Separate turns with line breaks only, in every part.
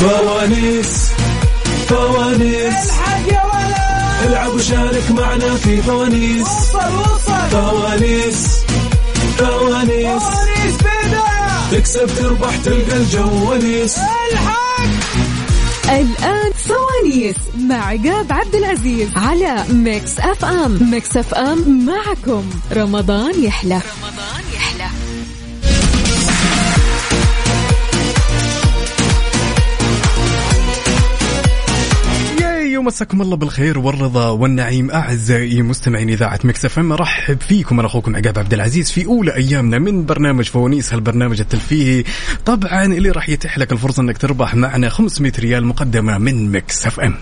فوانيس فوانيس
الحق يا ولد
العب وشارك معنا في فوانيس
وصل وصل
فوانيس فوانيس
فوانيس بداية
تكسب تربح تلقى الجواليس
الحق
الآن فوانيس مع عقاب عبد العزيز على ميكس أف أم ميكس أف أم معكم رمضان يحلى رمضان يحلى
ياي ومساكم الله بالخير والرضا والنعيم اعزائي مستمعين اذاعه مكس اف ام ارحب فيكم انا اخوكم عقاب عبد العزيز في اولى ايامنا من برنامج فوانيس هالبرنامج الترفيهي طبعا اللي راح يتيح لك الفرصه انك تربح معنا 500 ريال مقدمه من مكس اف ام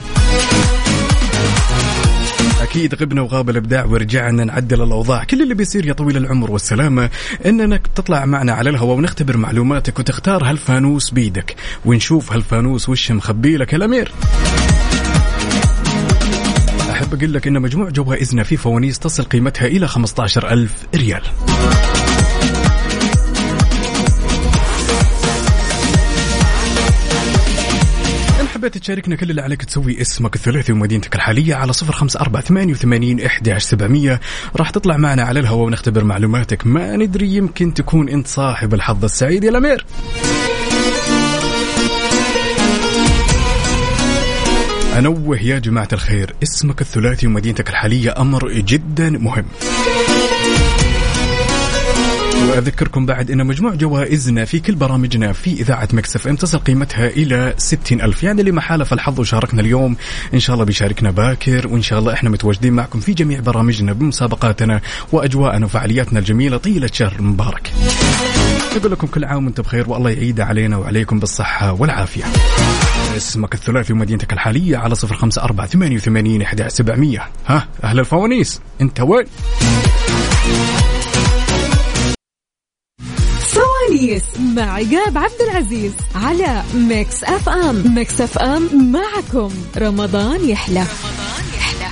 اكيد غبنا وغاب الابداع ورجعنا نعدل الاوضاع كل اللي بيصير يا طويل العمر والسلامه انك تطلع معنا على الهواء ونختبر معلوماتك وتختار هالفانوس بيدك ونشوف هالفانوس وش مخبي لك الامير احب اقول لك ان مجموع جوائزنا في فوانيس تصل قيمتها الى 15000 ريال إن حبيت تشاركنا كل اللي عليك تسوي اسمك الثلاثي ومدينتك الحالية على صفر خمسة أربعة ثمانية وثمانين إحداش سبعمية راح تطلع معنا على الهواء ونختبر معلوماتك ما ندري يمكن تكون أنت صاحب الحظ السعيد يا الأمير أنوه يا جماعة الخير اسمك الثلاثي ومدينتك الحالية أمر جدا مهم وأذكركم بعد أن مجموع جوائزنا في كل برامجنا في إذاعة مكسف ام تصل قيمتها إلى 60 ألف يعني اللي ما حالف الحظ وشاركنا اليوم إن شاء الله بيشاركنا باكر وإن شاء الله إحنا متواجدين معكم في جميع برامجنا بمسابقاتنا وأجواءنا وفعالياتنا الجميلة طيلة شهر مبارك نقول لكم كل عام وانتم بخير والله يعيد علينا وعليكم بالصحة والعافية اسمك الثلاثي ومدينتك الحالية على صفر خمسة أربعة ثمانية وثمانين أحد سبعمية ها أهل الفوانيس أنت وين
فوانيس مع عقاب عبد العزيز على ميكس أف أم ميكس أف أم معكم رمضان يحلى رمضان يحلى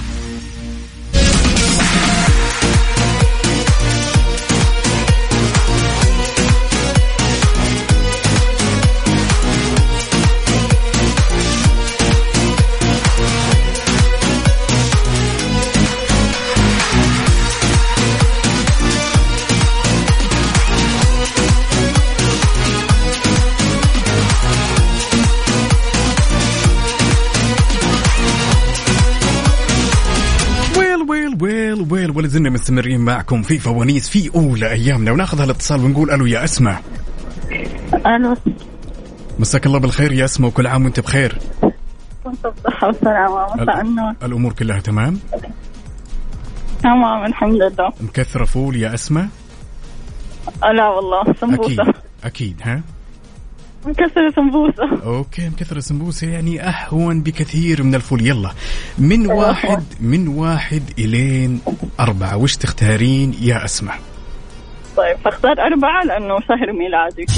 ويل ويل ويل ويل ولا زلنا مستمرين معكم في فوانيس في أولى أيامنا وناخذ هالاتصال ونقول ألو يا أسماء
ألو
مساك الله بالخير يا أسماء وكل عام وأنت بخير
كنت بصحة وسلامة مساء النور
الأمور كلها تمام
تمام الحمد لله
مكثرة فول يا أسماء
لا والله
أكيد
سمبوسة
أكيد ها
مكسرة سمبوسة
اوكي مكثر السمبوسه يعني اهون بكثير من الفول يلا من واحد من واحد الين اربعه وش تختارين يا اسماء؟
طيب فاختار أربعة لأنه شهر ميلادك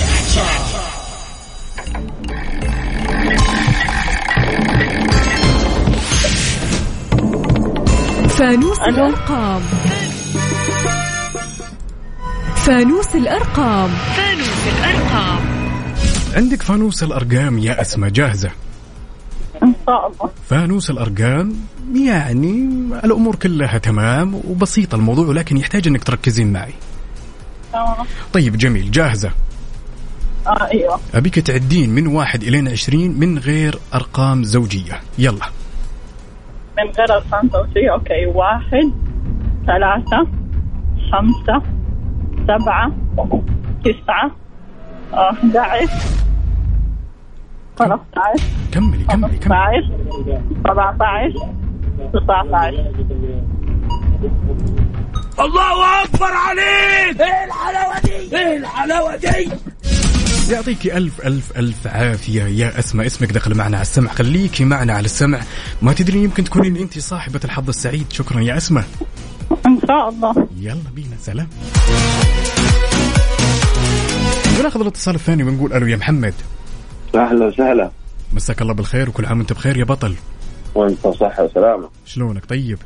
فانوس
ألو.
الأرقام فانوس الأرقام
عندك فانوس الارقام يا اسماء جاهزه
إن شاء الله
فانوس الارقام يعني الامور كلها تمام وبسيط الموضوع ولكن يحتاج انك تركزين معي
تمام
طيب جميل جاهزه
آه أيوه
ابيك تعدين من واحد الين عشرين من غير ارقام زوجيه يلا
من غير أرقام صوتية أوكي واحد ثلاثة خمسة سبعة تسعة آه، 11 13
كملي كملي كملي
15 17 19
يعطيك ألف ألف ألف عافية يا أسماء اسمك دخل معنا على السمع خليكي معنا على السمع ما تدرين يمكن تكونين أنت صاحبة الحظ السعيد شكرا يا أسماء
ان شاء الله
يلا بينا سلام وناخذ الاتصال الثاني ونقول ألو يا محمد
اهلا وسهلا
مساك الله بالخير وكل عام وانت بخير يا بطل
وانت صحة وسلامة
شلونك طيب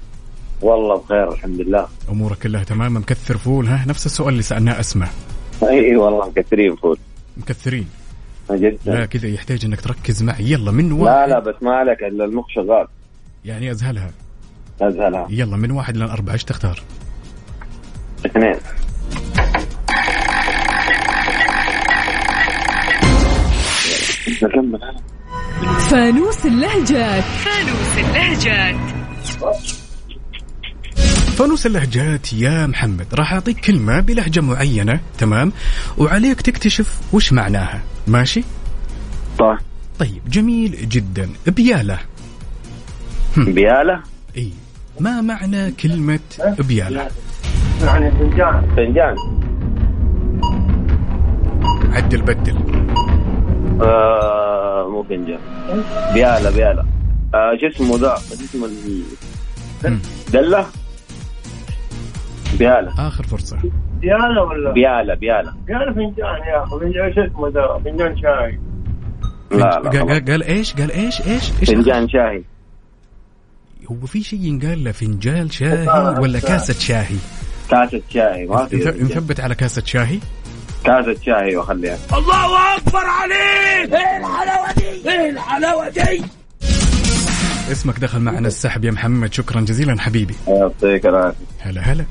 والله بخير الحمد لله
أمورك كلها تمام مكثر فول ها نفس السؤال اللي سألناه أسماء
اي والله كثيرين فول
مكثرين لا
جدا
كذا يحتاج انك تركز معي يلا من
لا
واحد
لا بس ما عليك الا المخ شغال
يعني ازهلها
ازهلها
يلا من واحد لين اربعه ايش تختار؟
اثنين نكمل
فانوس اللهجات
فانوس اللهجات يا محمد راح اعطيك كلمه بلهجه معينه تمام؟ وعليك تكتشف وش معناها ماشي؟
طيب
طيب جميل جدا بياله
بياله
اي ما معنى كلمه بياله؟
يعني فنجان فنجان
عدل بدل
آه مو فنجان بياله بياله آه شو اسمه ذا شو اسمه ال-
مم.
دله بياله
اخر فرصه
ديانا ولا
بياله بياله
ديانا فنجان يا اخي فنجان شو اسمه ذا فنجان شاي
لا لا
قال,
خلاص.
قال, قال ايش؟ قال ايش؟ ايش؟ ايش
فنجان شاهي
هو في شيء ينقال له فنجال شاهي ولا كاسه شاهي؟
كاسة شاهي ما في
نث- نثبت على كاسه شاهي؟
كاسة شاهي وخليها
اسمك دخل معنا السحب يا محمد شكرا جزيلا حبيبي
يعطيك العافية
هلا هلا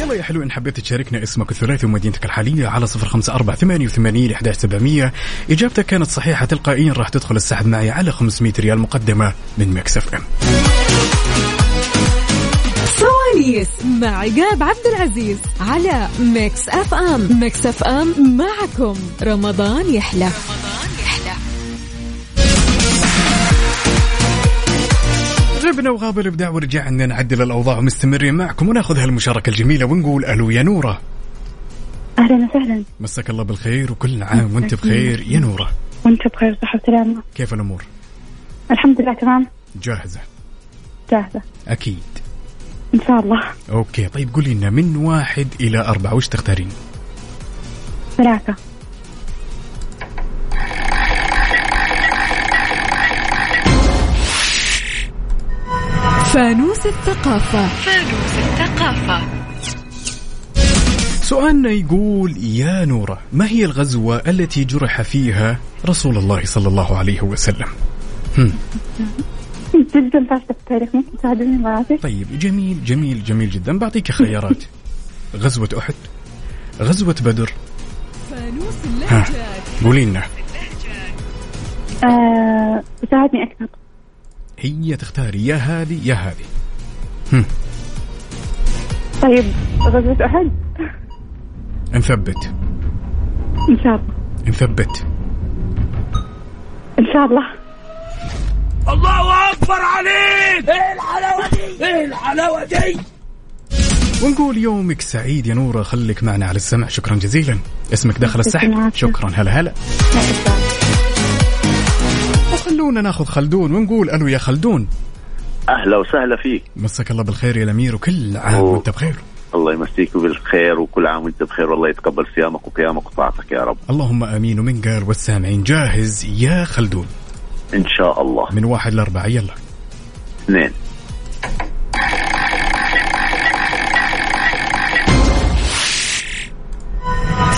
يلا يا حلو إن حبيت تشاركنا اسمك الثلاثي ومدينتك الحالية على صفر خمسة أربعة ثمانية وثمانين إحداش سبعمية إجابتك كانت صحيحة تلقائيا راح تدخل السحب معي على 500 ريال مقدمة من مكسف أم
سواليس مع عقاب عبد العزيز على ميكس اف ام ميكس اف ام معكم رمضان يحلى
غبنا وغاب الإبداع ورجعنا نعدل الأوضاع ومستمرين معكم وناخذ هالمشاركة الجميلة ونقول ألو يا نورة
اهلا وسهلا
مساك الله بالخير وكل عام وأنت بخير يا نورة
وانت بخير صحة وسلامة
كيف الأمور
الحمد لله تمام
جاهزة
جاهزة
أكيد
ان شاء الله
اوكي طيب قولي لنا من واحد الى اربعه وش تختارين؟
ثلاثة
فانوس الثقافة
سؤالنا يقول يا نورة ما هي الغزوة التي جرح فيها رسول الله صلى الله عليه وسلم؟
جدا فاشلة في التاريخ ممكن تساعدوني مراتي
طيب جميل جميل جميل جدا بعطيك خيارات غزوة احد غزوة بدر
فانوس اللهجات
قولي لنا
آه تساعدني اكثر
هي تختاري يا هذه يا هذه
طيب غزوة احد
نثبت
ان شاء الله
نثبت
ان شاء الله
ونقول يومك سعيد يا نورة خليك معنا على السمع شكرا جزيلا اسمك دخل السحب شكرا هلا هلا وخلونا ناخذ خلدون ونقول الو يا خلدون
أهلا وسهلا فيك
مساك الله بالخير يا الامير وكل عام
أوه.
وانت بخير
الله يمسيك بالخير وكل عام وانت بخير والله يتقبل صيامك وقيامك وطاعتك يا رب
اللهم امين ومن قال والسامعين جاهز يا خلدون
ان شاء الله
من واحد لاربعه يلا
اثنين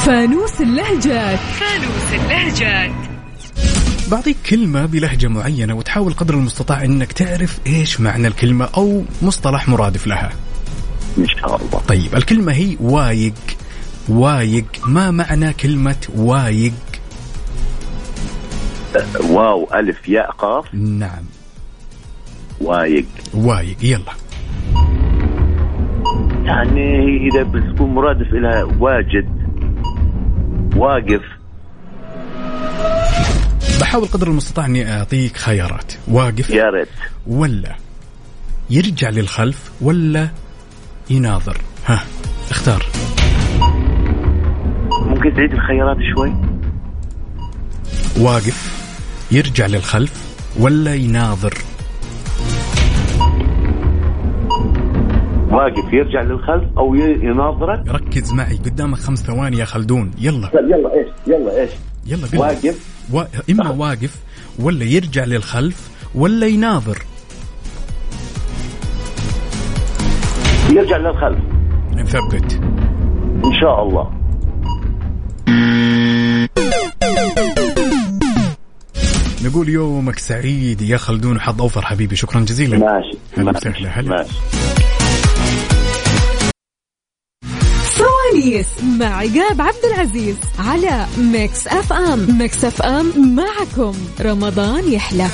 فانوس اللهجات
بعطيك كلمه بلهجه معينه وتحاول قدر المستطاع انك تعرف ايش معنى الكلمه او مصطلح مرادف لها
ان شاء الله
طيب الكلمه هي وايق وايق ما معنى كلمه وايق
واو الف ياء قاف
نعم
وايق
وايق يلا
يعني اذا بتكون مرادف لها واجد واقف
بحاول قدر المستطاع اني اعطيك خيارات واقف
يا ريت
ولا يرجع للخلف ولا يناظر ها اختار
ممكن تعيد الخيارات شوي
واقف يرجع للخلف ولا يناظر
واقف يرجع للخلف او ي- يناظرك
ركز معي قدامك خمس ثواني يا خلدون يلا
طيب، يلا ايش يلا ايش
يلا قل لي.
واقف
و... اما واقف ولا يرجع للخلف ولا يناظر
يرجع للخلف
نثبت
ان شاء الله
نقول يومك سعيد يا خلدون وحظ اوفر حبيبي شكرا
نعم.
جزيلا
ماشي
هلا
ماشي
وسهلا، هلا.
ماشي
سواليس مع عقاب عبد العزيز على ميكس اف ام ميكس اف ام معكم رمضان يحلى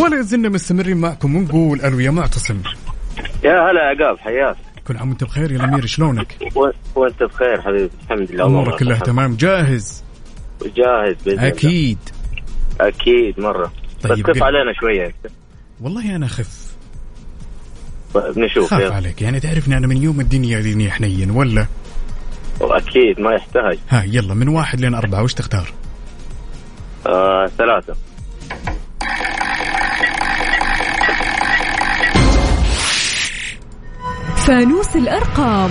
ولا زلنا مستمرين معكم ونقول الو يا معتصم
يا هلا عقاب حياك
كل عام وانت بخير يا الامير شلونك؟
و- وانت بخير حبيبي الحمد لله والله
امورك كلها
الحمد.
تمام جاهز
جاهز باذن الله
اكيد
اكيد مره
طيب،
بس كف
قل-
علينا شويه
والله انا خف
بنشوف
خاف
يلا.
عليك يعني تعرفني انا من يوم الدنيا ديني حنين ولا
واكيد ما يحتاج
ها يلا من واحد لين اربعه وش تختار؟
آه ثلاثه
فانوس الارقام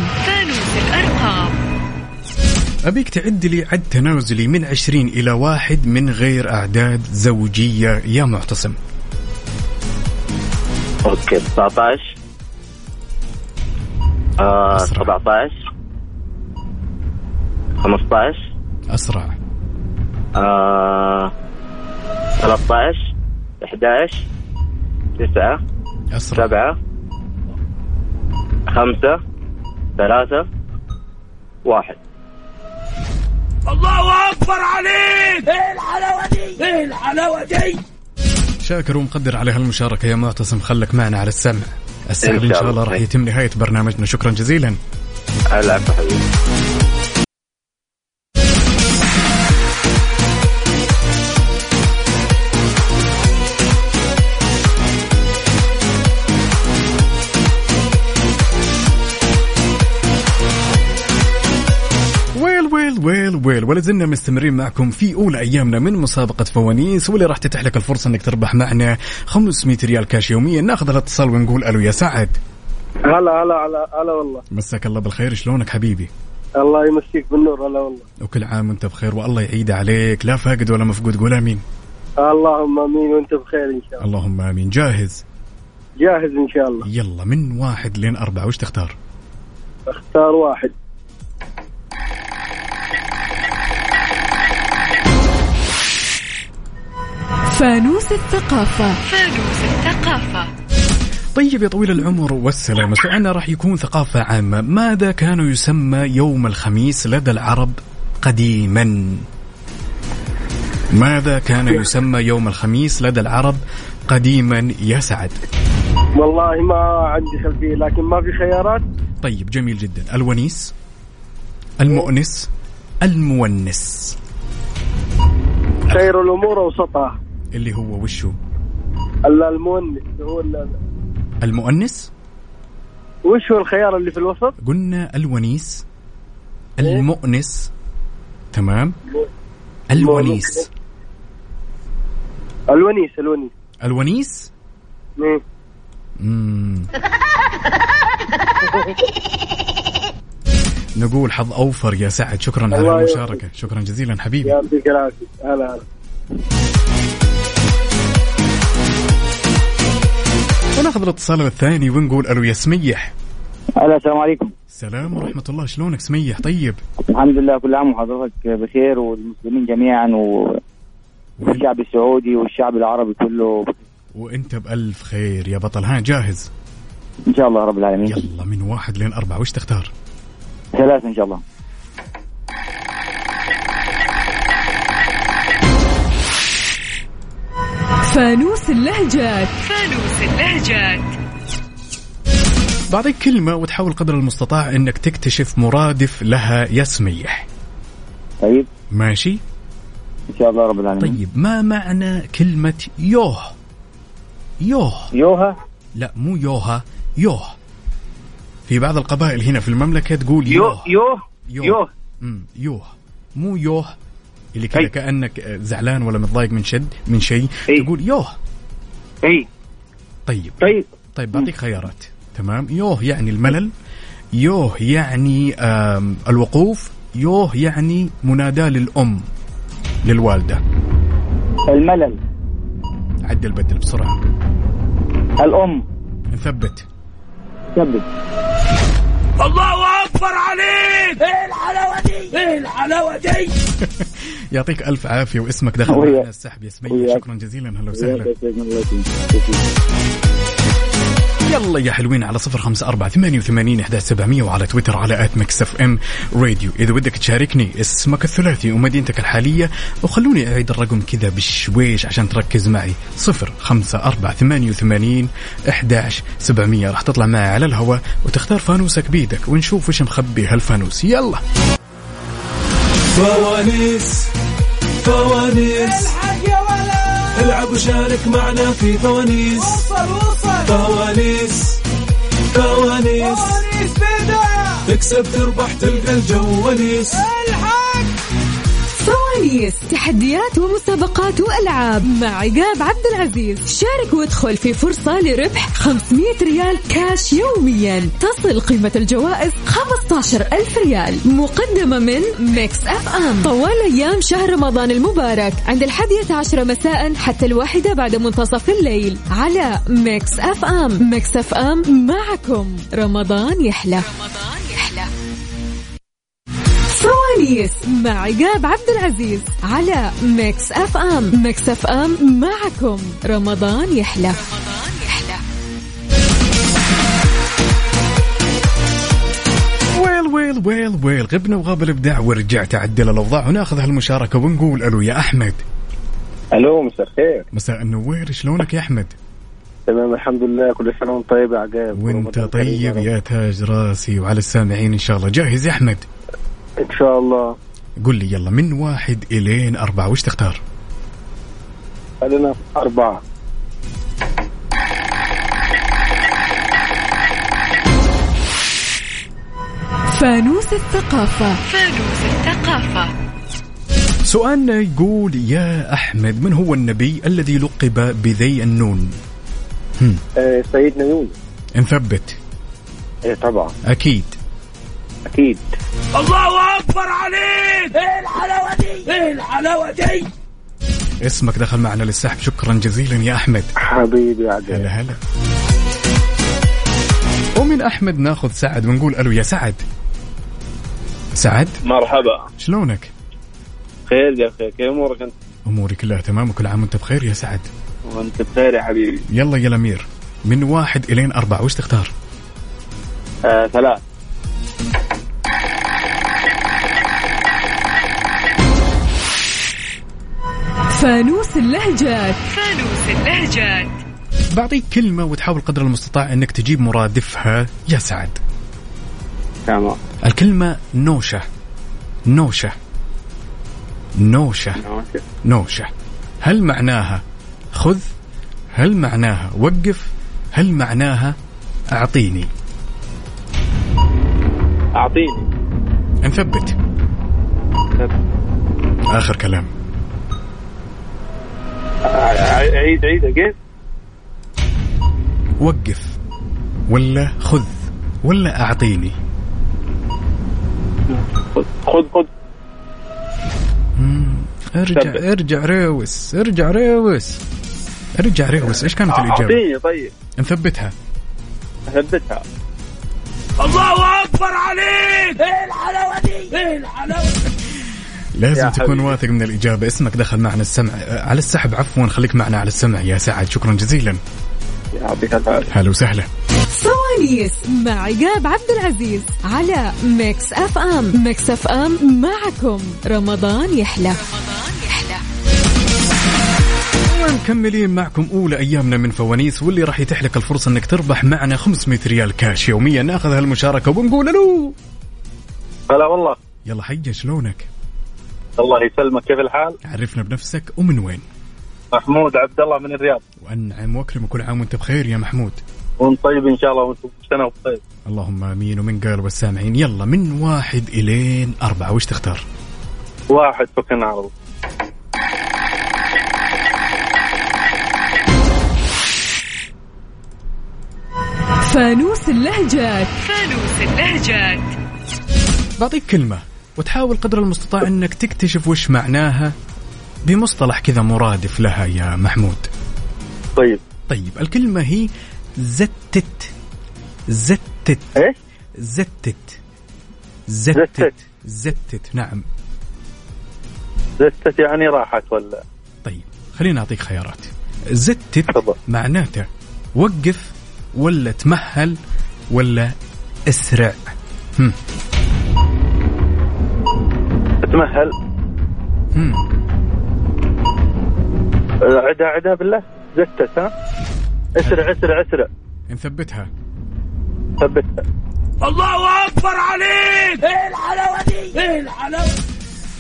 ابيك تعد لي عد تنازلي من 20 الى واحد من غير اعداد زوجيه يا معتصم
اوكي 19 آه
أسرع.
17 15
اسرع
آه 13 11 9
اسرع
سبعة خمسة ثلاثة واحد
شاكر ومقدر على هالمشاركة يا معتصم خلك معنا على السمع السحب
إن
إن
شاء
شاء الله
الله.
راح يتم نهاية برنامجنا شكرا جزيلا
العفو حبيبي
ويل ويل ويل ويل ولا زلنا مستمرين معكم في أولى أيامنا من مسابقة فوانيس واللي راح تتيح لك الفرصة أنك تربح معنا 500 ريال كاش يوميا ناخذ الاتصال ونقول ألو يا سعد
هلا هلا هلا هلا والله
مساك الله بالخير شلونك حبيبي
الله يمسيك بالنور هلا والله
وكل عام وانت بخير والله يعيد عليك لا فاقد ولا مفقود قول امين
اللهم امين وانت بخير ان شاء الله
اللهم امين جاهز
جاهز ان شاء الله
يلا من واحد لين أربعة وش تختار
اختار واحد
فانوس الثقافة
طيب يا طويل العمر والسلامة سؤالنا راح يكون ثقافة عامة ماذا كان يسمى يوم الخميس لدى العرب قديما ماذا كان يسمى يوم الخميس لدى العرب قديما يا سعد
والله ما عندي خلفيه لكن ما في خيارات
طيب جميل جدا الونيس المؤنس المونس
خير الامور اوسطها
اللي هو وشو
الا المؤنس هو ال-
المؤنس
وش هو الخيار اللي في الوسط؟
قلنا الونيس المؤنس تمام الونيس
الونيس الونيس
الونيس
مم.
مم. نقول حظ اوفر يا سعد شكرا على
الله يوفقك.
المشاركه شكرا جزيلا حبيبي
يعطيك العافيه هلا هلا
وناخذ الاتصال الثاني ونقول الو يا سميح
هلا السلام عليكم
سلام ورحمه الله شلونك سميح طيب
الحمد لله كل عام وحضرتك بخير والمسلمين جميعا و- والشعب السعودي والشعب العربي كله
وانت بالف خير يا بطل ها جاهز
ان شاء الله رب العالمين
يلا من واحد لين اربعه وش تختار
ثلاثة ان شاء الله
فانوس اللهجات
بعطيك كلمه وتحاول قدر المستطاع انك تكتشف مرادف لها يا سميح
طيب
ماشي
ان شاء الله رب العالمين
طيب ما معنى كلمه يوه يوه طيب.
يوها
لا مو يوها يوه في بعض القبائل هنا في المملكة تقول يوه
يوه
يوه
يوه.
مم، يوه مو يوه اللي كذا كأنك آه، زعلان ولا متضايق من شد من شيء تقول يوه
إيه.
اي
طيب
طيب
طيب بعطيك خيارات تمام يوه يعني الملل يوه يعني آم، الوقوف يوه يعني مناداة للأم للوالدة
الملل
عدل بدل بسرعة
الام
نثبت
ثبت
الله اكبر عليك ايه الحلاوه دي ايه الحلاوه دي
يعطيك ألف عافية واسمك دخل
وياك.
معنا السحب يا سمية
وياك.
شكرا جزيلا هلا وسهلا
وياك يا سيدنا الله يسلمك.
يلا يا حلوين على صفر خمسة أربعة ثمانية وثمانين أحداث سبعمية وعلى تويتر على آت ميكس اف ام راديو إذا ودك تشاركني اسمك الثلاثي ومدينتك الحالية وخلوني أعيد الرقم كذا بشويش عشان تركز معي صفر خمسة أربعة ثمانية وثمانين أحداش سبعمية راح تطلع معي على الهواء وتختار فانوسك بيدك ونشوف وش مخبي هالفانوس يلا
فوانيس فوانيس
الحق يا ولد
العب وشارك معنا في فوانيس
وصل وصل
فوانيس فوانيس
فوانيس بدا
تكسب تربح تلقى الجواليس
الحق
فوانيس تحديات ومسابقات والعاب مع عقاب عبد العزيز شارك وادخل في فرصه لربح 500 ريال كاش يوميا تصل قيمه الجوائز 15000 ريال مقدمه من ميكس اف ام طوال ايام شهر رمضان المبارك عند الحادية عشرة مساء حتى الواحدة بعد منتصف الليل على ميكس اف ام ميكس اف ام معكم رمضان يحلى رمضان يحلى فوانيس مع عقاب عبد العزيز على ميكس اف ام ميكس اف ام معكم رمضان يحلى
ويل ويل ويل ويل غبنا وغاب الإبداع ورجعت أعدل الأوضاع وناخذ هالمشاركة ونقول ألو يا أحمد
الو مساء الخير
مساء النوير شلونك يا أحمد
تمام الحمد لله كل سنه وانت طيب يا عقاب
وانت
ورمضان كريم
طيب
رب.
يا تاج راسي وعلى السامعين ان شاء الله جاهز يا احمد
ان شاء الله
قل لي يلا من واحد الين اربعة وش تختار
خلينا في اربعه
فانوس الثقافة
سؤالنا يقول يا احمد من هو النبي الذي لقب بذي النون
آه سيدنا يونس
نثبت
ايه طبعا
اكيد
اكيد
الله اكبر عليك ايه الحلاوه دي ايه الحلاوه دي
اسمك دخل معنا للسحب شكرا جزيلا يا احمد
حبيبي يا
هلا
عقاب
هلا ومن احمد ناخذ سعد ونقول الو يا سعد سعد
مرحبا
شلونك
خير يا اخي كيف امورك انت؟
اموري كلها تمام وكل عام وانت بخير يا سعد
وانت بخير يا حبيبي
يلا يا الامير من واحد الين اربعة وش تختار
آه ثلاث
فانوس اللهجات
بعطيك كلمة وتحاول قدر المستطاع انك تجيب مرادفها يا سعد
تمام
الكلمة نوشة نوشة نوشة
أوكي.
نوشة هل معناها خذ هل معناها وقف هل معناها اعطيني
اعطيني
نثبت اخر كلام
ع- عيد عيد اجين
وقف ولا خذ ولا اعطيني
خذ خذ
ارجع
ثبت.
ارجع ريوس ارجع ريوس ارجع ريوس ايش كانت الاجابه؟
اعطيني طيب
نثبتها
ثبتها
الله اكبر عليك ايه الحلاوه دي ايه الحلاوه
لازم
يا
تكون
حبيبي.
واثق من الإجابة اسمك دخل معنا السمع آه، على السحب عفوا خليك معنا على السمع يا سعد شكرا جزيلا
أه. يعطيك الف عافيه
هلا وسهلا
فوانيس مع عقاب عبد العزيز على ميكس اف ام ميكس اف ام معكم رمضان يحلى
مكملين معكم أولى أيامنا من فوانيس واللي راح يتيح لك الفرصة أنك تربح معنا 500 ريال كاش يوميا ناخذ هالمشاركة وبنقول ألو
هلا والله
يلا حيا شلونك
الله يسلمك كيف الحال؟
عرفنا بنفسك ومن وين
محمود عبد الله من الرياض
وأنعم وأكرم وكل عام وأنت بخير يا محمود
وانت طيب ان شاء الله وانتم سنه وطيب
اللهم امين ومن قال والسامعين يلا من واحد الين اربعه وش تختار؟
واحد فكنا عرض
فانوس اللهجات
فانوس اللهجات
بعطيك كلمه وتحاول قدر المستطاع انك تكتشف وش معناها بمصطلح كذا مرادف لها يا محمود
طيب
طيب الكلمه هي زتت زتت
ايش؟
زتت زتت زتت نعم
زتت يعني راحت ولا
طيب خليني اعطيك خيارات زتت معناته وقف ولا تمهل ولا اسرع هم.
تمهل
هم.
عدا عدا بالله زتت ها اسرع اسرع اسرع
نثبتها
ثبتها
الله اكبر عليك ايه الحلاوه دي ايه الحلاوه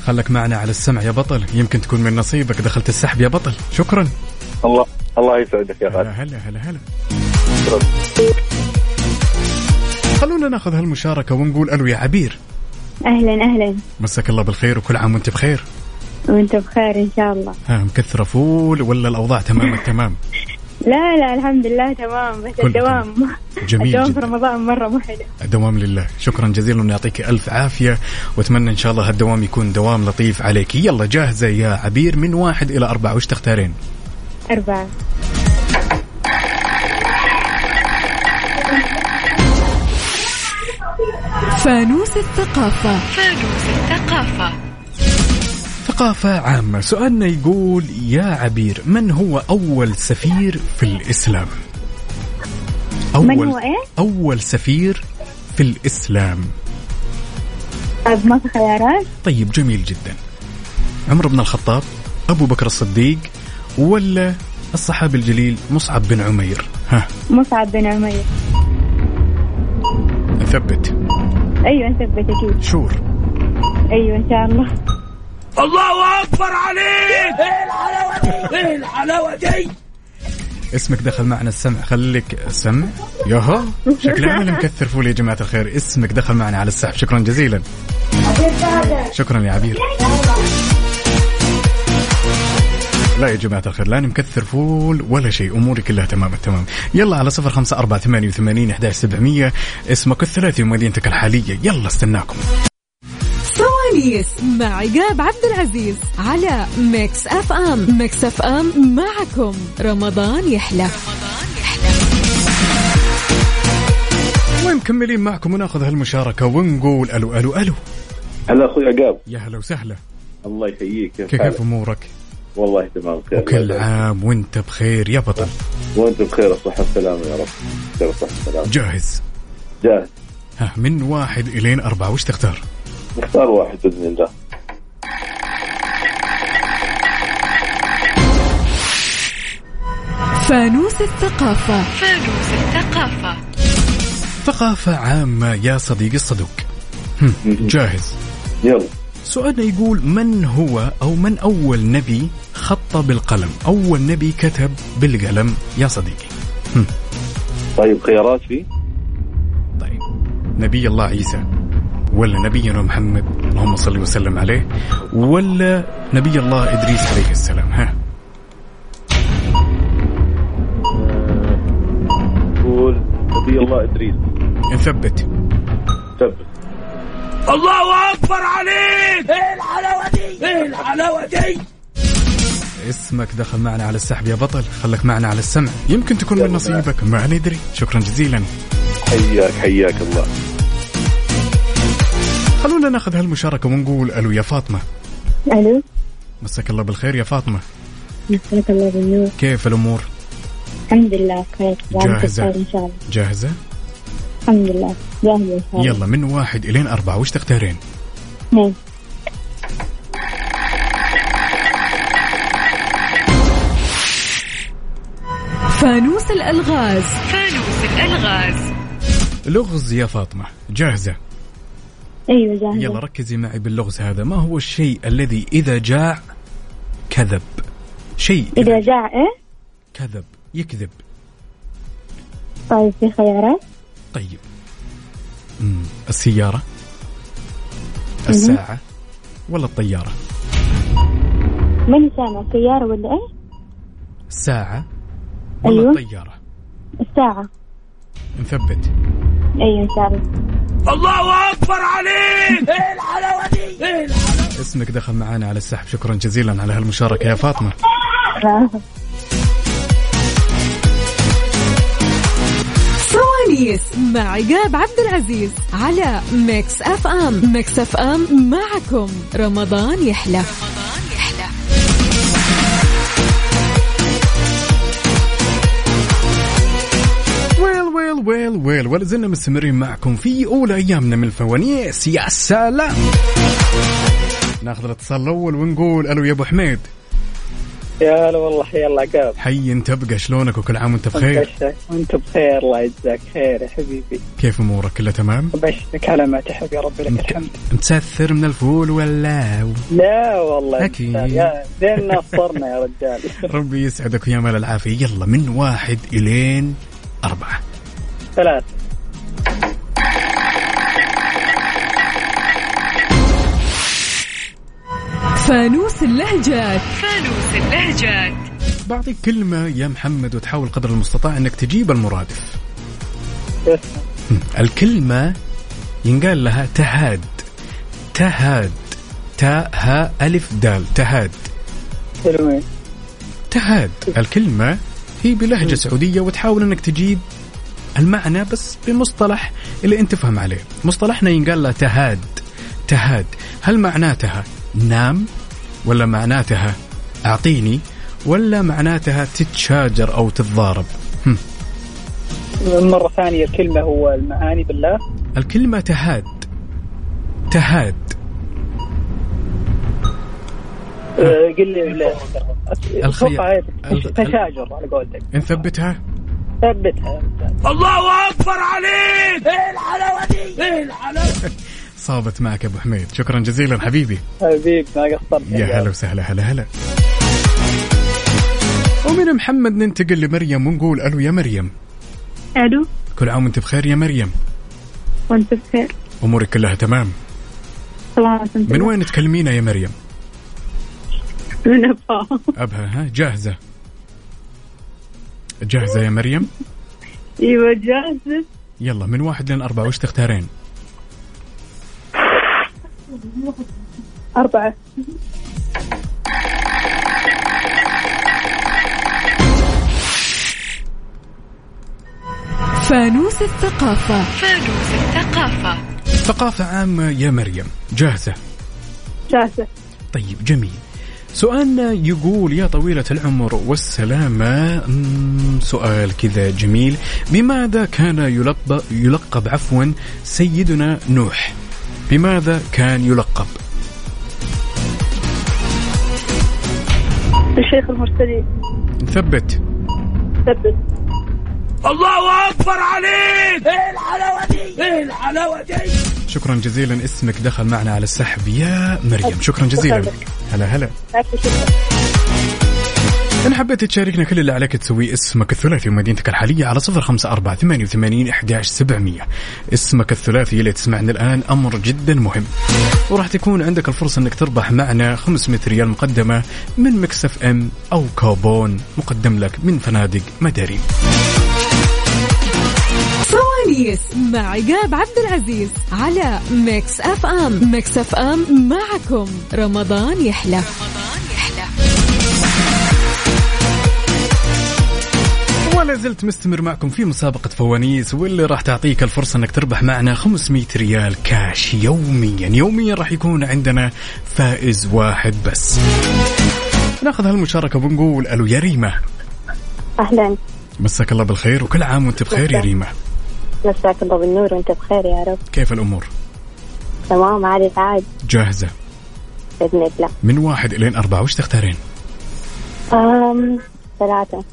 خلك معنا على السمع يا بطل يمكن تكون من نصيبك دخلت السحب يا بطل شكرا
الله الله يسعدك يا غالي
هلا هلا هلا خلونا ناخذ هالمشاركه ونقول الو يا عبير
اهلا اهلا
مساك الله بالخير وكل عام وانت بخير
وانت بخير ان شاء الله
ها مكثره فول ولا الاوضاع تمام التمام
لا لا الحمد لله تمام بس
كله
الدوام
جميل
الدوام في
جداً.
رمضان مره محلو
الدوام لله شكرا جزيلا ويعطيك الف عافيه واتمنى ان شاء الله هالدوام يكون دوام لطيف عليك يلا جاهزه يا عبير من واحد الى اربعه وش تختارين
أربعة
فانوس الثقافة
فانوس الثقافة
ثقافة عامة سؤالنا يقول يا عبير من هو أول سفير في الإسلام
من هو إيه؟
أول سفير في الإسلام
طيب ما في خيارات
طيب جميل جدا عمر بن الخطاب أبو بكر الصديق ولا الصحابي الجليل مصعب بن عمير ها
مصعب بن عمير
نثبت
ايوه نثبت اكيد
شور
ايوه ان شاء الله
الله اكبر عليك ايه الحلاوه دي ايه الحلاوه دي
اسمك دخل معنا السمع خليك سمع ياها شكلنا عامل مكثر فول يا جماعة الخير اسمك دخل معنا على السحب شكرا جزيلا شكرا يا عبير لا يا جماعة الخير لا نمكثر فول ولا شيء أموري كلها تمام التمام يلا على صفر خمسة أربعة ثمانية وثمانين أحداش سبعمية اسمك الثلاثي ومدينتك الحالية يلا استناكم
سواليس مع عقاب عبد العزيز على ميكس اف ام ميكس اف ام معكم رمضان يحلى
ومكملين معكم وناخذ هالمشاركة ونقول ألو ألو ألو
هلا اخوي عقاب
يا هلا وسهلا
الله يحييك
كيف كيف أمورك
والله تمام بخير
كل عام وانت بخير يا بطل
وانت بخير الصحه والسلامه يا رب بخير الصحه والسلامه
جاهز
جاهز
ها من واحد الين اربعه وش تختار؟
نختار واحد باذن الله
فانوس الثقافة
فانوس الثقافة
ثقافة عامة يا صديقي الصدوق هم، جاهز
يلا
سؤالنا يقول من هو أو من أول نبي خط بالقلم أول نبي كتب بالقلم يا صديقي
طيب خيارات في
طيب نبي الله عيسى ولا نبينا محمد اللهم صل وسلم عليه ولا نبي الله إدريس عليه السلام ها
قول نبي الله ادريس
نثبت
ثبت
الله اكبر عليك ايه الحلاوه دي ايه الحلاوه دي
اسمك دخل معنا على السحب يا بطل خلك معنا على السمع يمكن تكون من نصيبك ما ندري شكرا جزيلا
حياك حياك الله
خلونا ناخذ هالمشاركة ونقول ألو يا فاطمة
الو
مساك الله بالخير يا فاطمة
مساك الله بالنور
كيف الأمور
الحمد لله بخير وانت
جاهزة.
بخير ان شاء الله
جاهزة
الحمد لله جاهزه ان شاء الله
يلا من واحد إلين أربعة وش تختارين
اثنين
فانوس الالغاز
فانوس الألغاز
لغز يا فاطمة جاهزة
ايوه جاهزه
يلا ركزي معي باللغز هذا ما هو الشيء الذي إذا جاع كذب شيء
إيه؟ اذا جاء ايه
كذب يكذب
طيب في خيارات
طيب مم. السيارة الساعة ولا الطيارة
ماني سامع سيارة ولا ايه؟
الساعة ولا
أيوة.
الطيارة
الساعة
نثبت
ايوه ان شاء الله
الله اكبر عليك ايه الحلاوه دي ايه الحلاوه
اسمك دخل معانا على السحب شكرا جزيلا على هالمشاركة يا فاطمة
فرونيس مع عقاب عبد العزيز على ميكس اف ام ميكس اف ام معكم رمضان يحلى
ويل ويل ويل ويل ولا زلنا مستمرين معكم في اولى ايامنا من الفوانيس يا سلام ناخذ الاتصال الاول ونقول الو يا ابو حميد
يا هلا والله حيا الله عقاب
حي انت ابقى شلونك وكل عام وانت بخير
بشرك وانت بخير الله يجزاك خير يا حبيبي
كيف امورك كلها تمام
بشرك على ما تحب يا رب لك الحمد
متسثر من الفول ولا
لا والله
أكيد.
يا زيننا فطرنا يا رجال
ربي يسعدك ويا مال العافيه يلا من واحد الين اربعه
ثلاث
فانوس اللهجات
فانوس اللهجات
بعطيك كلمه يا محمد وتحاول قدر المستطاع انك تجيب المرادف الكلمة ينقال لها تهاد تهاد تاء هاء ألف دال تهاد
حلوين
تهاد الكلمة هي بلهجة سعودية وتحاول أنك تجيب المعنى بس بمصطلح اللي أنت فهم عليه مصطلحنا ينقال له تهاد تهاد هل معناتها نام ولا معناتها أعطيني ولا معناتها تتشاجر أو تتضارب هم.
مرة ثانية الكلمة هو المعاني بالله
أه. الكلمة تهاد تهاد
آه، قل لي ال- أتوقع إيه؟
ال-
تشاجر على قولتك
نثبتها
ثبتها
الله اكبر عليك ايه الحلاوه دي ايه الحلاوه
صابت معك يا ابو حميد شكرا جزيلا حبيبي
حبيبي ما قصرت
يا هلا وسهلا هلا هلا ومن محمد ننتقل لمريم ونقول الو يا مريم
الو
كل عام وانت بخير يا مريم
وانت بخير
امورك كلها تمام
سلامات
من وين تكلمينا يا مريم
من ابها
ابها ها جاهزه جاهزه يا مريم
ايوه جاهزة
يلا من واحد لين اربعه وش تختارين
أربعة
فانوس الثقافة
فانوس الثقافة
ثقافه عامه يا مريم جاهزه
جاهزة
طيب جميل سؤالنا يقول يا طويلة العمر والسلامة مم، سؤال كذا جميل بماذا كان يلقب, يلقب عفوا سيدنا نوح بماذا كان يلقب
الشيخ المرسلين
نثبت
ثبت
الله اكبر عليك ايه الحلاوه دي ايه الحلاوه دي
شكرا جزيلا اسمك دخل معنا على السحب يا مريم شكرا جزيلا هلا هلا إن حبيت تشاركنا كل اللي عليك تسويه اسمك الثلاثي ومدينتك الحالية على صفر خمسة أربعة ثمانية وثمانين إحداش سبعمية اسمك الثلاثي اللي تسمعنا الآن أمر جدا مهم وراح تكون عندك الفرصة أنك تربح معنا 500 ريال مقدمة من مكسف أم أو كوبون مقدم لك من فنادق مداري
فرونيس مع عقاب عبد العزيز على ميكس اف ام ميكس اف ام معكم رمضان يحلى
ولا زلت مستمر معكم في مسابقة فوانيس واللي راح تعطيك الفرصة انك تربح معنا 500 ريال كاش يوميا يوميا راح يكون عندنا فائز واحد بس ناخذ هالمشاركة ونقول الو يا ريما
اهلا
مساك الله بالخير وكل عام وانت بخير يا ريما
مساك الله بالنور وانت بخير يا رب
كيف الامور
تمام عادي عاد
جاهزة
باذن الله
من واحد الين اربعة وش تختارين
أم... ثلاثة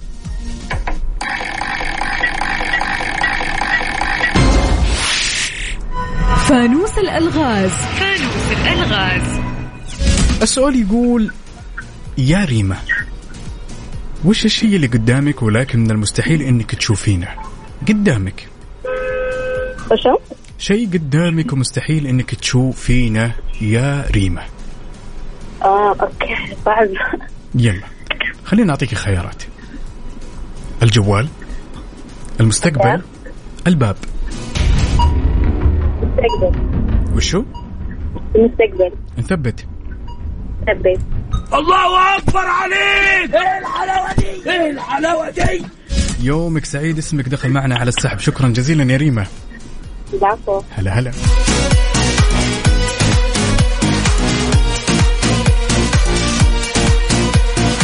فانوس الالغاز
فانوس الالغاز
السؤال يقول يا ريما وش الشيء اللي قدامك ولكن من المستحيل انك تشوفينه قدامك
وشو؟
شيء قدامك ومستحيل انك تشوفينه يا ريما
اه اوكي بعد
يلا خلينا نعطيك خيارات الجوال المستقبل الباب
المستقبل
وشو
المستقبل
نثبت
ثبت
الله اكبر عليك ايه الحلاوه دي ايه الحلاوه دي
يومك سعيد اسمك دخل معنا على السحب شكرا جزيلا يا ريما
العفو
هلا هلا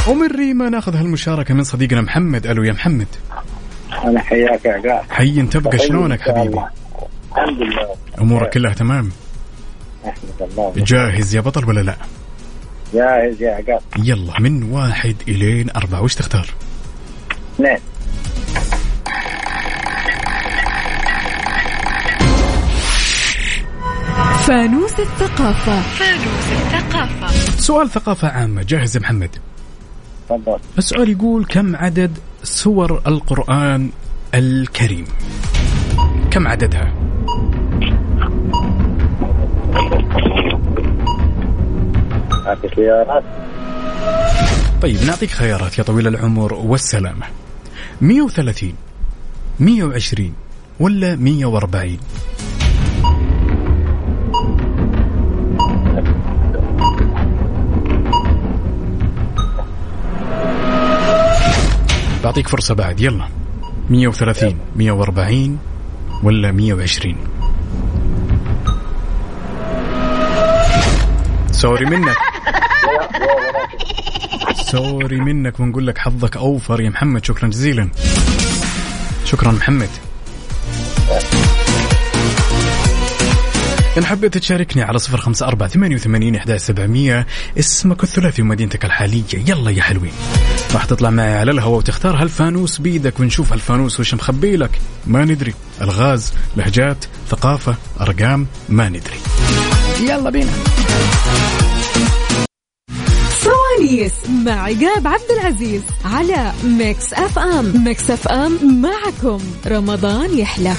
ومن ريما ناخذ هالمشاركة من صديقنا محمد ألو يا محمد
انا حياك يا عقاب
حي تبقى
طيب،
شلونك
إن شاء
حبيبي
الله. الحمد لله
أمورك كلها تمام
احمد الله
جاهز يا بطل ولا لا
جاهز يا عقاب
يلا من واحد إلين أربعة وش تختار
اثنين
فانوس الثقافة
فانوس الثقافة
سؤال ثقافة عامة جاهز يا محمد
تفضل
السؤال يقول كم عدد سور القرآن الكريم كم عددها
هذه خيارات
طيب نعطيك خيارات يا طويل العمر والسلامة 130 120 ولا 140 بعطيك فرصة بعد يلا 130 140 ولا 120 سوري منك سوري منك ونقول لك حظك اوفر يا محمد شكرا جزيلا شكرا محمد إن حبيت تشاركني على صفر خمسة أربعة ثمانية وثمانين إحدى سبعمية اسمك الثلاثي ومدينتك الحالية يلا يا حلوين راح تطلع معي على الهواء وتختار هالفانوس بيدك ونشوف هالفانوس وش مخبي لك ما ندري الغاز لهجات ثقافة أرقام ما ندري يلا بينا
فرونيس مع عقاب عبد العزيز على ميكس اف ام ميكس اف ام معكم رمضان يحلى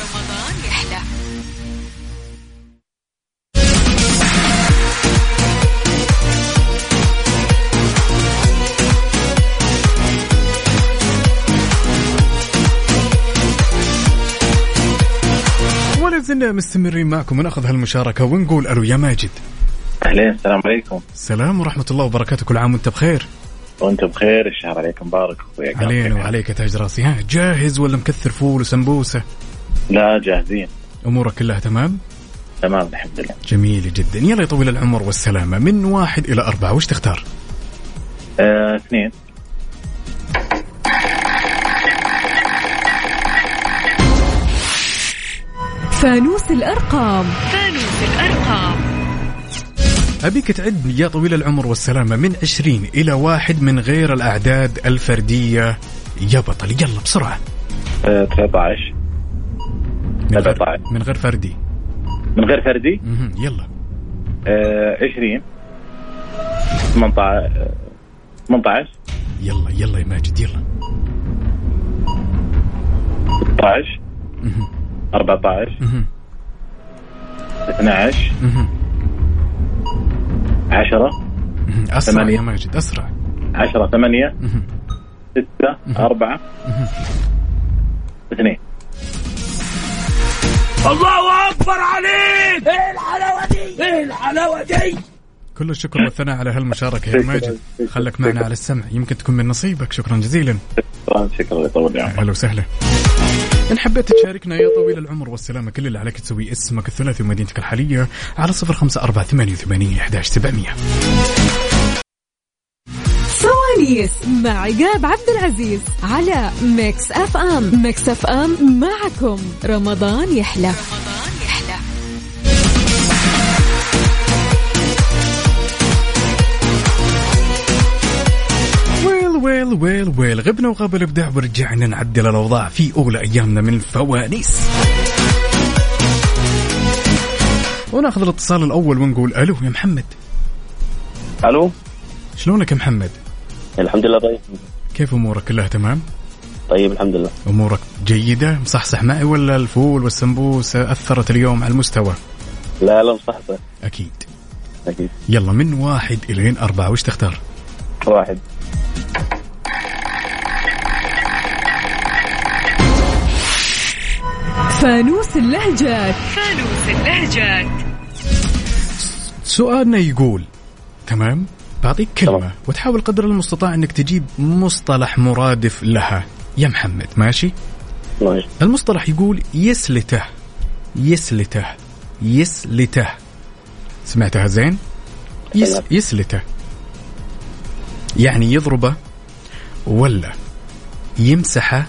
ولا زلنا مستمرين معكم وناخذ هالمشاركة ونقول ألو يا ماجد
اهلين السلام عليكم
السلام ورحمة الله وبركاته كل عام وأنت بخير
وانتم بخير الشهر عليكم مبارك اخوي
علينا وعليك يا تاج راسي ها جاهز ولا مكثر فول وسمبوسه
لا جاهزين
امورك كلها تمام
تمام الحمد لله
جميل جدا يلا يا طويل العمر والسلامه من واحد الى اربعه وش تختار
آه، اثنين
فانوس الارقام
فانوس الأرقام
ابيك تعد يا طويل العمر والسلامه من 20 الى واحد من غير الاعداد الفرديه يا بطل يلا بسرعه
آه، 13
من غير, من غير فردي
من غير فردي
مهم. يلا
آه، 20 18 آه، 18
يلا يلا يا ماجد يلا
16
مهم.
14
مهم.
12
مهم.
10
مهم. اسرع
ثمانية.
يا ماجد اسرع
10 8
مهم.
6 4 2
الله اكبر عليك ايه الحلاوه دي ايه الحلاوه دي
كل الشكر والثناء على هالمشاركة يا ماجد خلك معنا على السمع يمكن تكون من نصيبك شكرا جزيلا
شكرا شكرا يطول عمرك
اهلا وسهلا إن حبيت تشاركنا يا طويل العمر والسلامة كل اللي عليك تسوي اسمك الثلاثي ومدينتك الحالية على صفر خمسة أربعة ثمانية وثمانين أحداش سبعمية
فرونيس مع عقاب عبد العزيز على ميكس اف ام ميكس اف ام معكم رمضان يحلى
ويل ويل ويل ويل غبنا وغاب الإبداع ورجعنا نعدل الأوضاع في أولى أيامنا من الفوانيس وناخذ الاتصال الأول ونقول ألو يا محمد
الو
شلونك يا محمد
الحمد لله طيب
كيف أمورك كلها تمام
طيب الحمد لله
امورك جيده مصحصح معي ولا الفول والسمبوسه اثرت اليوم على المستوى
لا لا مصحصح
اكيد
اكيد
يلا من واحد الين اربعه وش تختار
واحد
فانوس اللهجات
فانوس اللهجات
سؤالنا يقول تمام بعطيك كلمة طبعا. وتحاول قدر المستطاع انك تجيب مصطلح مرادف لها يا محمد ماشي؟
ماشي
المصطلح يقول يسلته يسلته يسلته سمعتها زين؟ يس يسلته يعني يضربه ولا يمسحه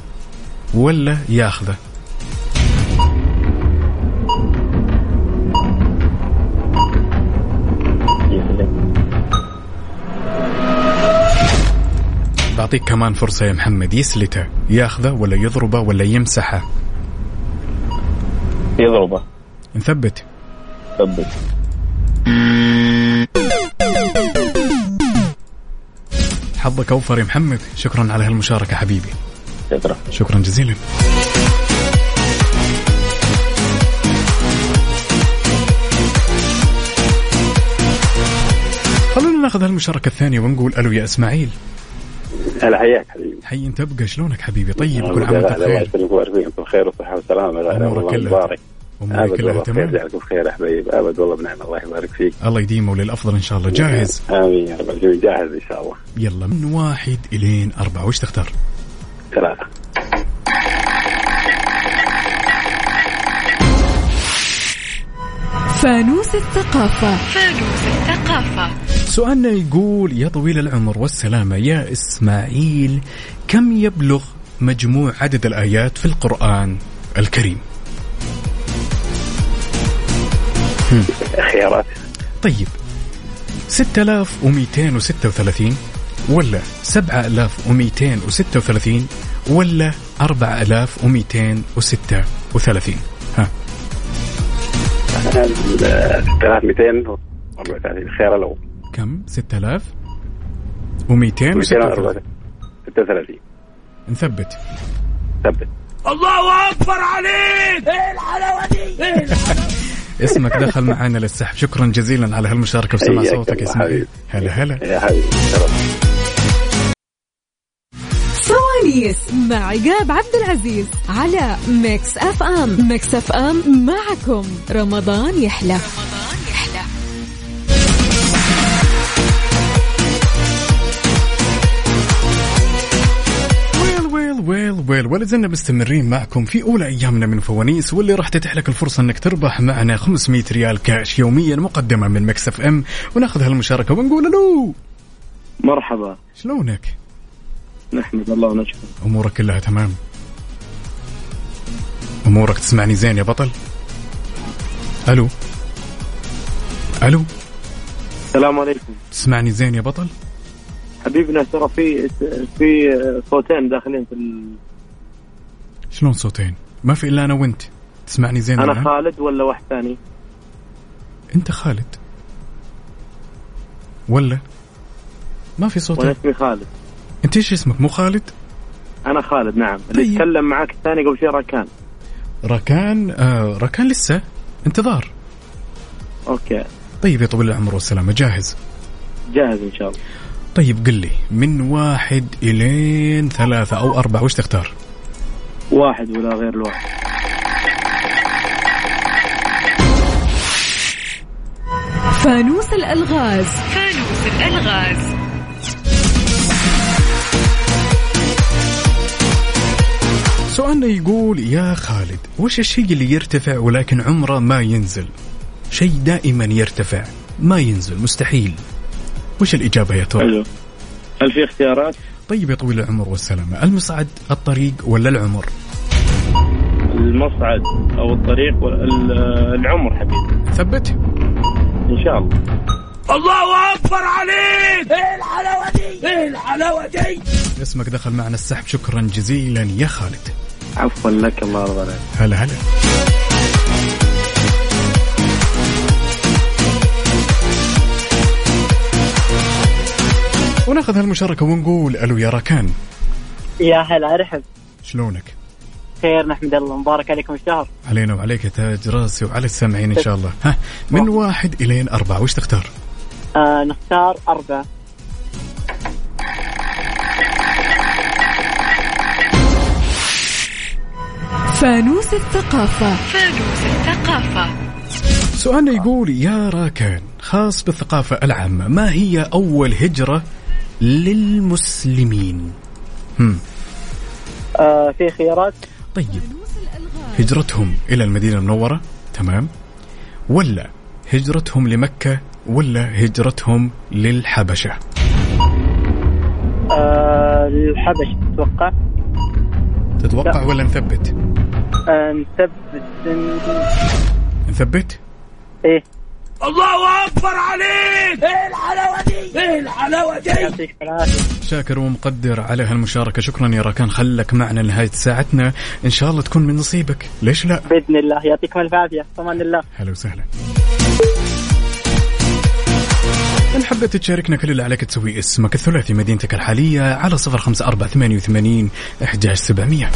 ولا ياخذه بعطيك كمان فرصة يا محمد يسلته ياخذه ولا يضربه ولا يمسحه
يضربه
نثبت
ثبت
حظك أوفر يا محمد شكرا على هالمشاركة حبيبي
شكرا
شكرا جزيلا خلونا ناخذ هالمشاركة الثانية ونقول ألو يا إسماعيل
هلا حياك حبيبي
حي انت ابقى شلونك حبيبي طيب
أنا
كل عام
بالله-
وانت
الله
بخير
يسلمك ويعافيك انتم بخير وصحه وسلامه لا
أمورك
والله
كلها-
مبارك
أمورك
ابد
كلها
والله
تمام.
بخير جعلكم بخير يا حبايب ابد والله بنعم الله يبارك فيك
الله يديمه للافضل ان شاء الله جاهز
امين يا رب العالمين جاهز ان شاء الله
يلا من واحد الين اربعه وش تختار؟
ثلاثه
فانوس الثقافة
فانوس الثقافة
سؤالنا يقول يا طويل العمر والسلامه يا اسماعيل كم يبلغ مجموع عدد الايات في القران الكريم؟ هم.
خيارات
طيب 6236 ولا 7236 ولا 4236 ها
3234 خيار الاول
كم 6000 و236
36
نثبت
ثبت
الله اكبر عليك ايه الحلاوه دي ايه
اسمك دخل معانا للسحب شكرا جزيلا على هالمشاركه وسمع
حياك
صوتك يا
الله
اسماعيل
حبيبي.
هلا هلا
Eh,
يا حبيبي
فوانيس مع عقاب عبد العزيز على ميكس اف ام ميكس اف ام معكم رمضان يحلى
ويل ويل ويل ويل ولا زلنا مستمرين معكم في اولى ايامنا من فوانيس واللي راح تتيح لك الفرصه انك تربح معنا 500 ريال كاش يوميا مقدمه من مكس اف ام وناخذ هالمشاركه ونقول الو
مرحبا
شلونك؟
نحمد الله ونشكر
امورك كلها تمام؟ امورك تسمعني زين يا بطل؟ الو الو
السلام عليكم
تسمعني زين يا بطل؟
حبيبنا ترى في في صوتين داخلين في ال...
شلون صوتين؟ ما في الا انا وانت تسمعني زين
انا
الآن؟
خالد ولا واحد ثاني
انت خالد ولا ما في صوت
وانا اسمي خالد
انت ايش اسمك مو خالد
انا خالد نعم
طيب.
اللي يتكلم معك الثاني قبل شوي ركان
ركان آه ركان لسه انتظار
اوكي
طيب يا طويل العمر والسلامة جاهز
جاهز ان شاء الله
طيب قل لي من واحد الين ثلاثة او اربعة وش تختار
واحد ولا غير الواحد
فانوس الالغاز
فانوس الألغاز
سؤالنا يقول يا خالد وش الشيء اللي يرتفع ولكن عمره ما ينزل شيء دائما يرتفع ما ينزل مستحيل وش الإجابة يا ترى
حلو هل في اختيارات؟
طيب يا طويل العمر والسلامة المصعد الطريق ولا العمر
المصعد او الطريق وال- العمر حبيبي
ثبت
ان شاء الله
الله اكبر عليك ايه الحلاوه دي ايه الحلاوه دي
اسمك دخل معنا السحب شكرا جزيلا يا خالد
عفوا لك الله يرضى عليك
هلا هلا وناخذ هالمشاركة ونقول ألو يا ركان
يا هلا ارحب
شلونك؟
خير نحمد الله مبارك عليكم الشهر
علينا وعليك يا تاج راسي وعلى السامعين ان شاء الله ها من واحد الين اربعه وش تختار؟
آه نختار أربعة
فانوس الثقافة
فانوس الثقافة
سؤالنا يقول يا راكان خاص بالثقافة العامة ما هي أول هجرة للمسلمين هم.
آه في خيارات
طيب هجرتهم إلى المدينة المنورة تمام ولا هجرتهم لمكة ولا هجرتهم للحبشة
آه الحبش أتوقع
تتوقع
لا.
ولا نثبت
آه نثبت
نثبت
إيه
الله اكبر عليك ايه الحلاوه دي ايه الحلاوه دي
إيه شاكر ومقدر على هالمشاركة شكرا يا راكان خلك معنا لنهاية ساعتنا إن شاء الله تكون من نصيبك ليش لا
بإذن الله يعطيكم الف عافية في أمان الله
هلا وسهلا إن حبيت تشاركنا كل اللي عليك تسوي اسمك الثلاثي مدينتك الحالية على صفر خمسة أربعة ثمانية وثمانين أحداش سبعمية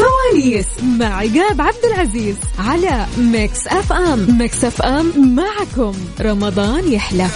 فوانيس مع عقاب عبد العزيز على ميكس اف ام ميكس اف ام معكم رمضان يحلى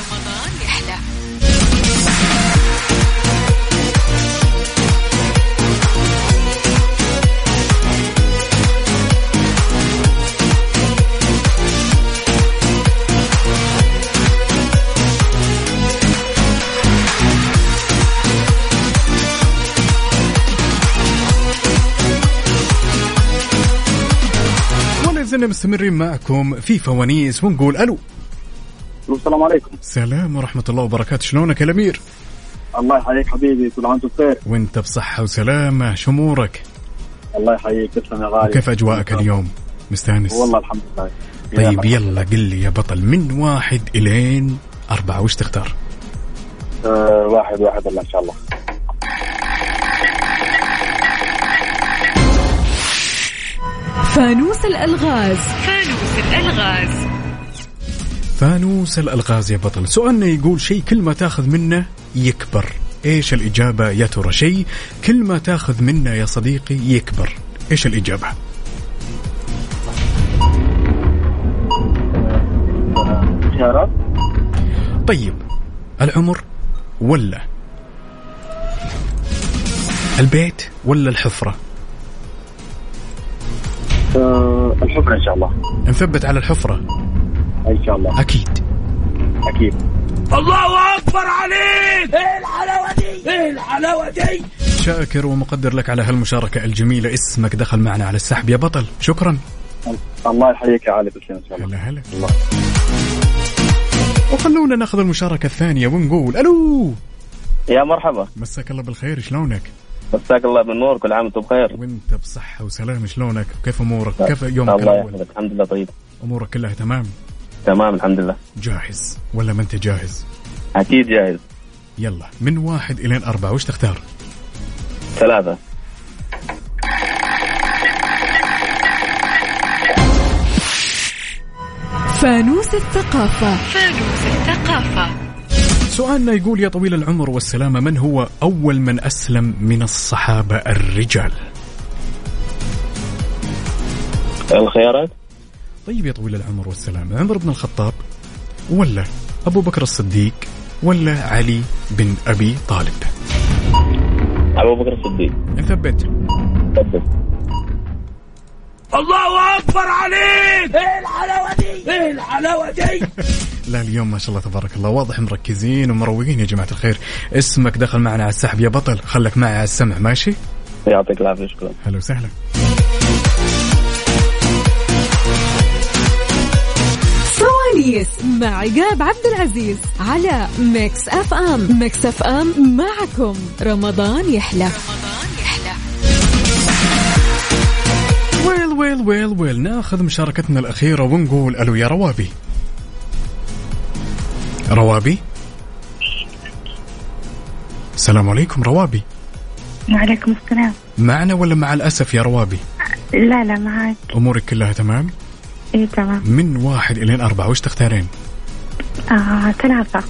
ولا زلنا مستمرين معكم في فوانيس ونقول ألو
السلام عليكم
سلام ورحمة الله وبركاته شلونك يا الأمير
الله يحييك حبيبي كل عام وأنت بخير
وانت بصحة وسلامة شمورك
الله يحييك تسلم يا غالي
وكيف أجواءك اليوم مستانس
والله الحمد لله
طيب يلا قل لي يا بطل من واحد إلين أربعة وش تختار
آه واحد واحد الله ان شاء الله
فانوس الالغاز
فانوس الألغاز
فانوس الألغاز يا بطل سؤالنا يقول شيء كل ما تاخذ منه يكبر إيش الإجابة يا ترى شيء كل ما تاخذ منه يا صديقي يكبر إيش الإجابة
خيارات
طيب العمر ولا البيت ولا الحفرة
آه الحفرة ان شاء الله
نثبت على الحفرة
ان شاء الله
أكيد
اكيد
الله اكبر عليك ايه الحلاوه دي ايه الحلاوه دي
شاكر ومقدر لك على هالمشاركة الجميلة اسمك دخل معنا على السحب يا بطل شكرا
الله يحييك يا علي تسلم ان شاء الله
هلا هلا الله وخلونا ناخذ المشاركة الثانية ونقول ألو
يا مرحبا
مساك الله بالخير شلونك
مساك الله بالنور كل عام وانتم بخير
وانت بصحة وسلام شلونك وكيف أمورك كيف يومك
الله
الأول
يحفظك الحمد لله طيب
أمورك كلها تمام
تمام الحمد لله
جاهز ولا ما أنت جاهز
اكيد جاهز
يلا من واحد إلى أربعة وش تختار
ثلاثة
فانوس الثقافة
فانوس الثقافة
سؤالنا يقول يا طويل العمر والسلامة من هو أول من أسلم من الصحابة الرجال
الخيارات
طيب يا طويل العمر والسلامة عمر بن الخطاب ولا أبو بكر الصديق ولا علي بن أبي طالب
ابو بكر الصديق
نثبت
تفضل
الله اكبر عليك ايه الحلاوه دي ايه الحلاوه دي
لا اليوم ما شاء الله تبارك الله واضح مركزين ومروقين يا جماعة الخير اسمك دخل معنا على السحب يا بطل خلك معي على السمع ماشي
يعطيك العافيه شكرا
هلا وسهلا
فوانيس مع عقاب عبد العزيز على ميكس اف ام ميكس اف ام معكم رمضان يحلى
ويل ويل ويل ويل ناخذ مشاركتنا الأخيرة ونقول ألو يا روابي روابي السلام عليكم روابي
وعليكم السلام
معنا ولا مع الأسف يا روابي
لا لا معك
أمورك كلها تمام
اي تمام
من واحد إلى أربعة وش تختارين
آه ثلاثة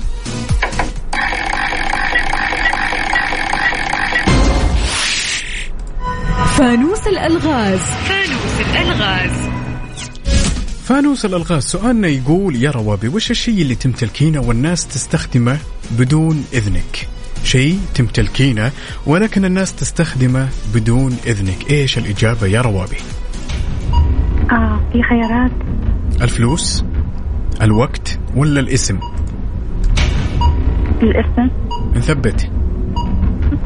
فانوس الألغاز
فانوس الألغاز
فانوس الألغاز سؤالنا يقول يا روابي وش الشيء اللي تمتلكينه والناس تستخدمه بدون إذنك شيء تمتلكينه ولكن الناس تستخدمه بدون إذنك إيش الإجابة يا روابي
آه في خيارات
الفلوس الوقت ولا الاسم
الاسم
نثبت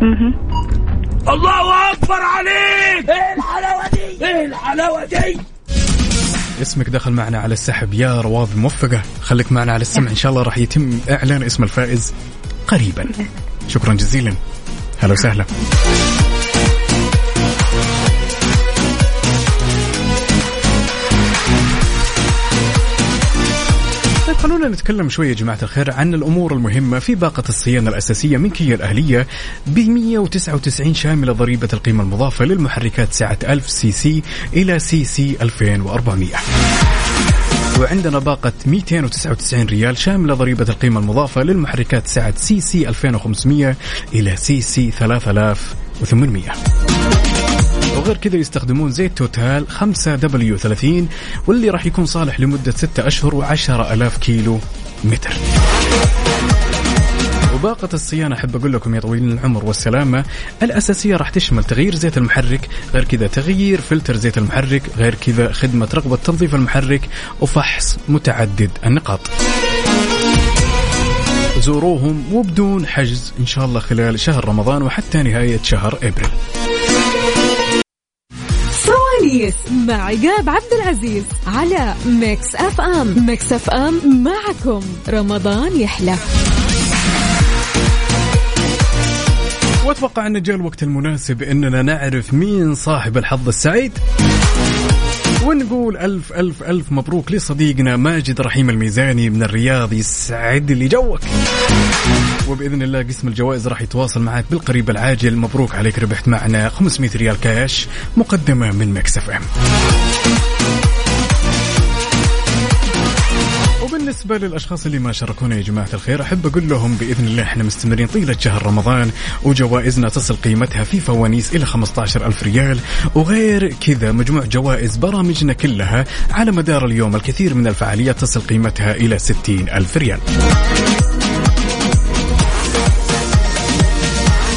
مهم.
الله اكبر عليك ايه الحلاوه دي ايه الحلاوه دي
اسمك دخل معنا على السحب يا روابي موفقة خليك معنا على السمع إن شاء الله راح يتم إعلان اسم الفائز قريبا شكرا جزيلا هلا وسهلا طيب خلونا نتكلم شوي يا جماعة الخير عن الأمور المهمة في باقة الصيانة الأساسية من كيا الأهلية ب 199 شاملة ضريبة القيمة المضافة للمحركات سعة 1000 سي سي إلى سي سي 2400 وعندنا باقة 299 ريال شاملة ضريبة القيمة المضافة للمحركات سعة سي سي 2500 إلى سي سي 3800 وغير كذا يستخدمون زيت توتال 5W30 واللي راح يكون صالح لمدة 6 أشهر و10000 كيلو متر وباقة الصيانة أحب أقول لكم يا طويلين العمر والسلامة الأساسية راح تشمل تغيير زيت المحرك غير كذا تغيير فلتر زيت المحرك غير كذا خدمة رغبة تنظيف المحرك وفحص متعدد النقاط زوروهم وبدون حجز إن شاء الله خلال شهر رمضان وحتى نهاية شهر أبريل
فوانيس مع عقاب عبد العزيز على ميكس اف ام ميكس اف ام معكم رمضان يحلى
واتوقع ان جاء الوقت المناسب اننا نعرف مين صاحب الحظ السعيد ونقول الف الف الف مبروك لصديقنا ماجد رحيم الميزاني من الرياض يسعد لي جوك وباذن الله قسم الجوائز راح يتواصل معك بالقريب العاجل مبروك عليك ربحت معنا 500 ريال كاش مقدمه من مكسف ام وبالنسبة للأشخاص اللي ما شاركونا يا جماعة الخير أحب أقول لهم بإذن الله إحنا مستمرين طيلة شهر رمضان وجوائزنا تصل قيمتها في فوانيس إلى 15 ألف ريال وغير كذا مجموع جوائز برامجنا كلها على مدار اليوم الكثير من الفعاليات تصل قيمتها إلى 60 ألف ريال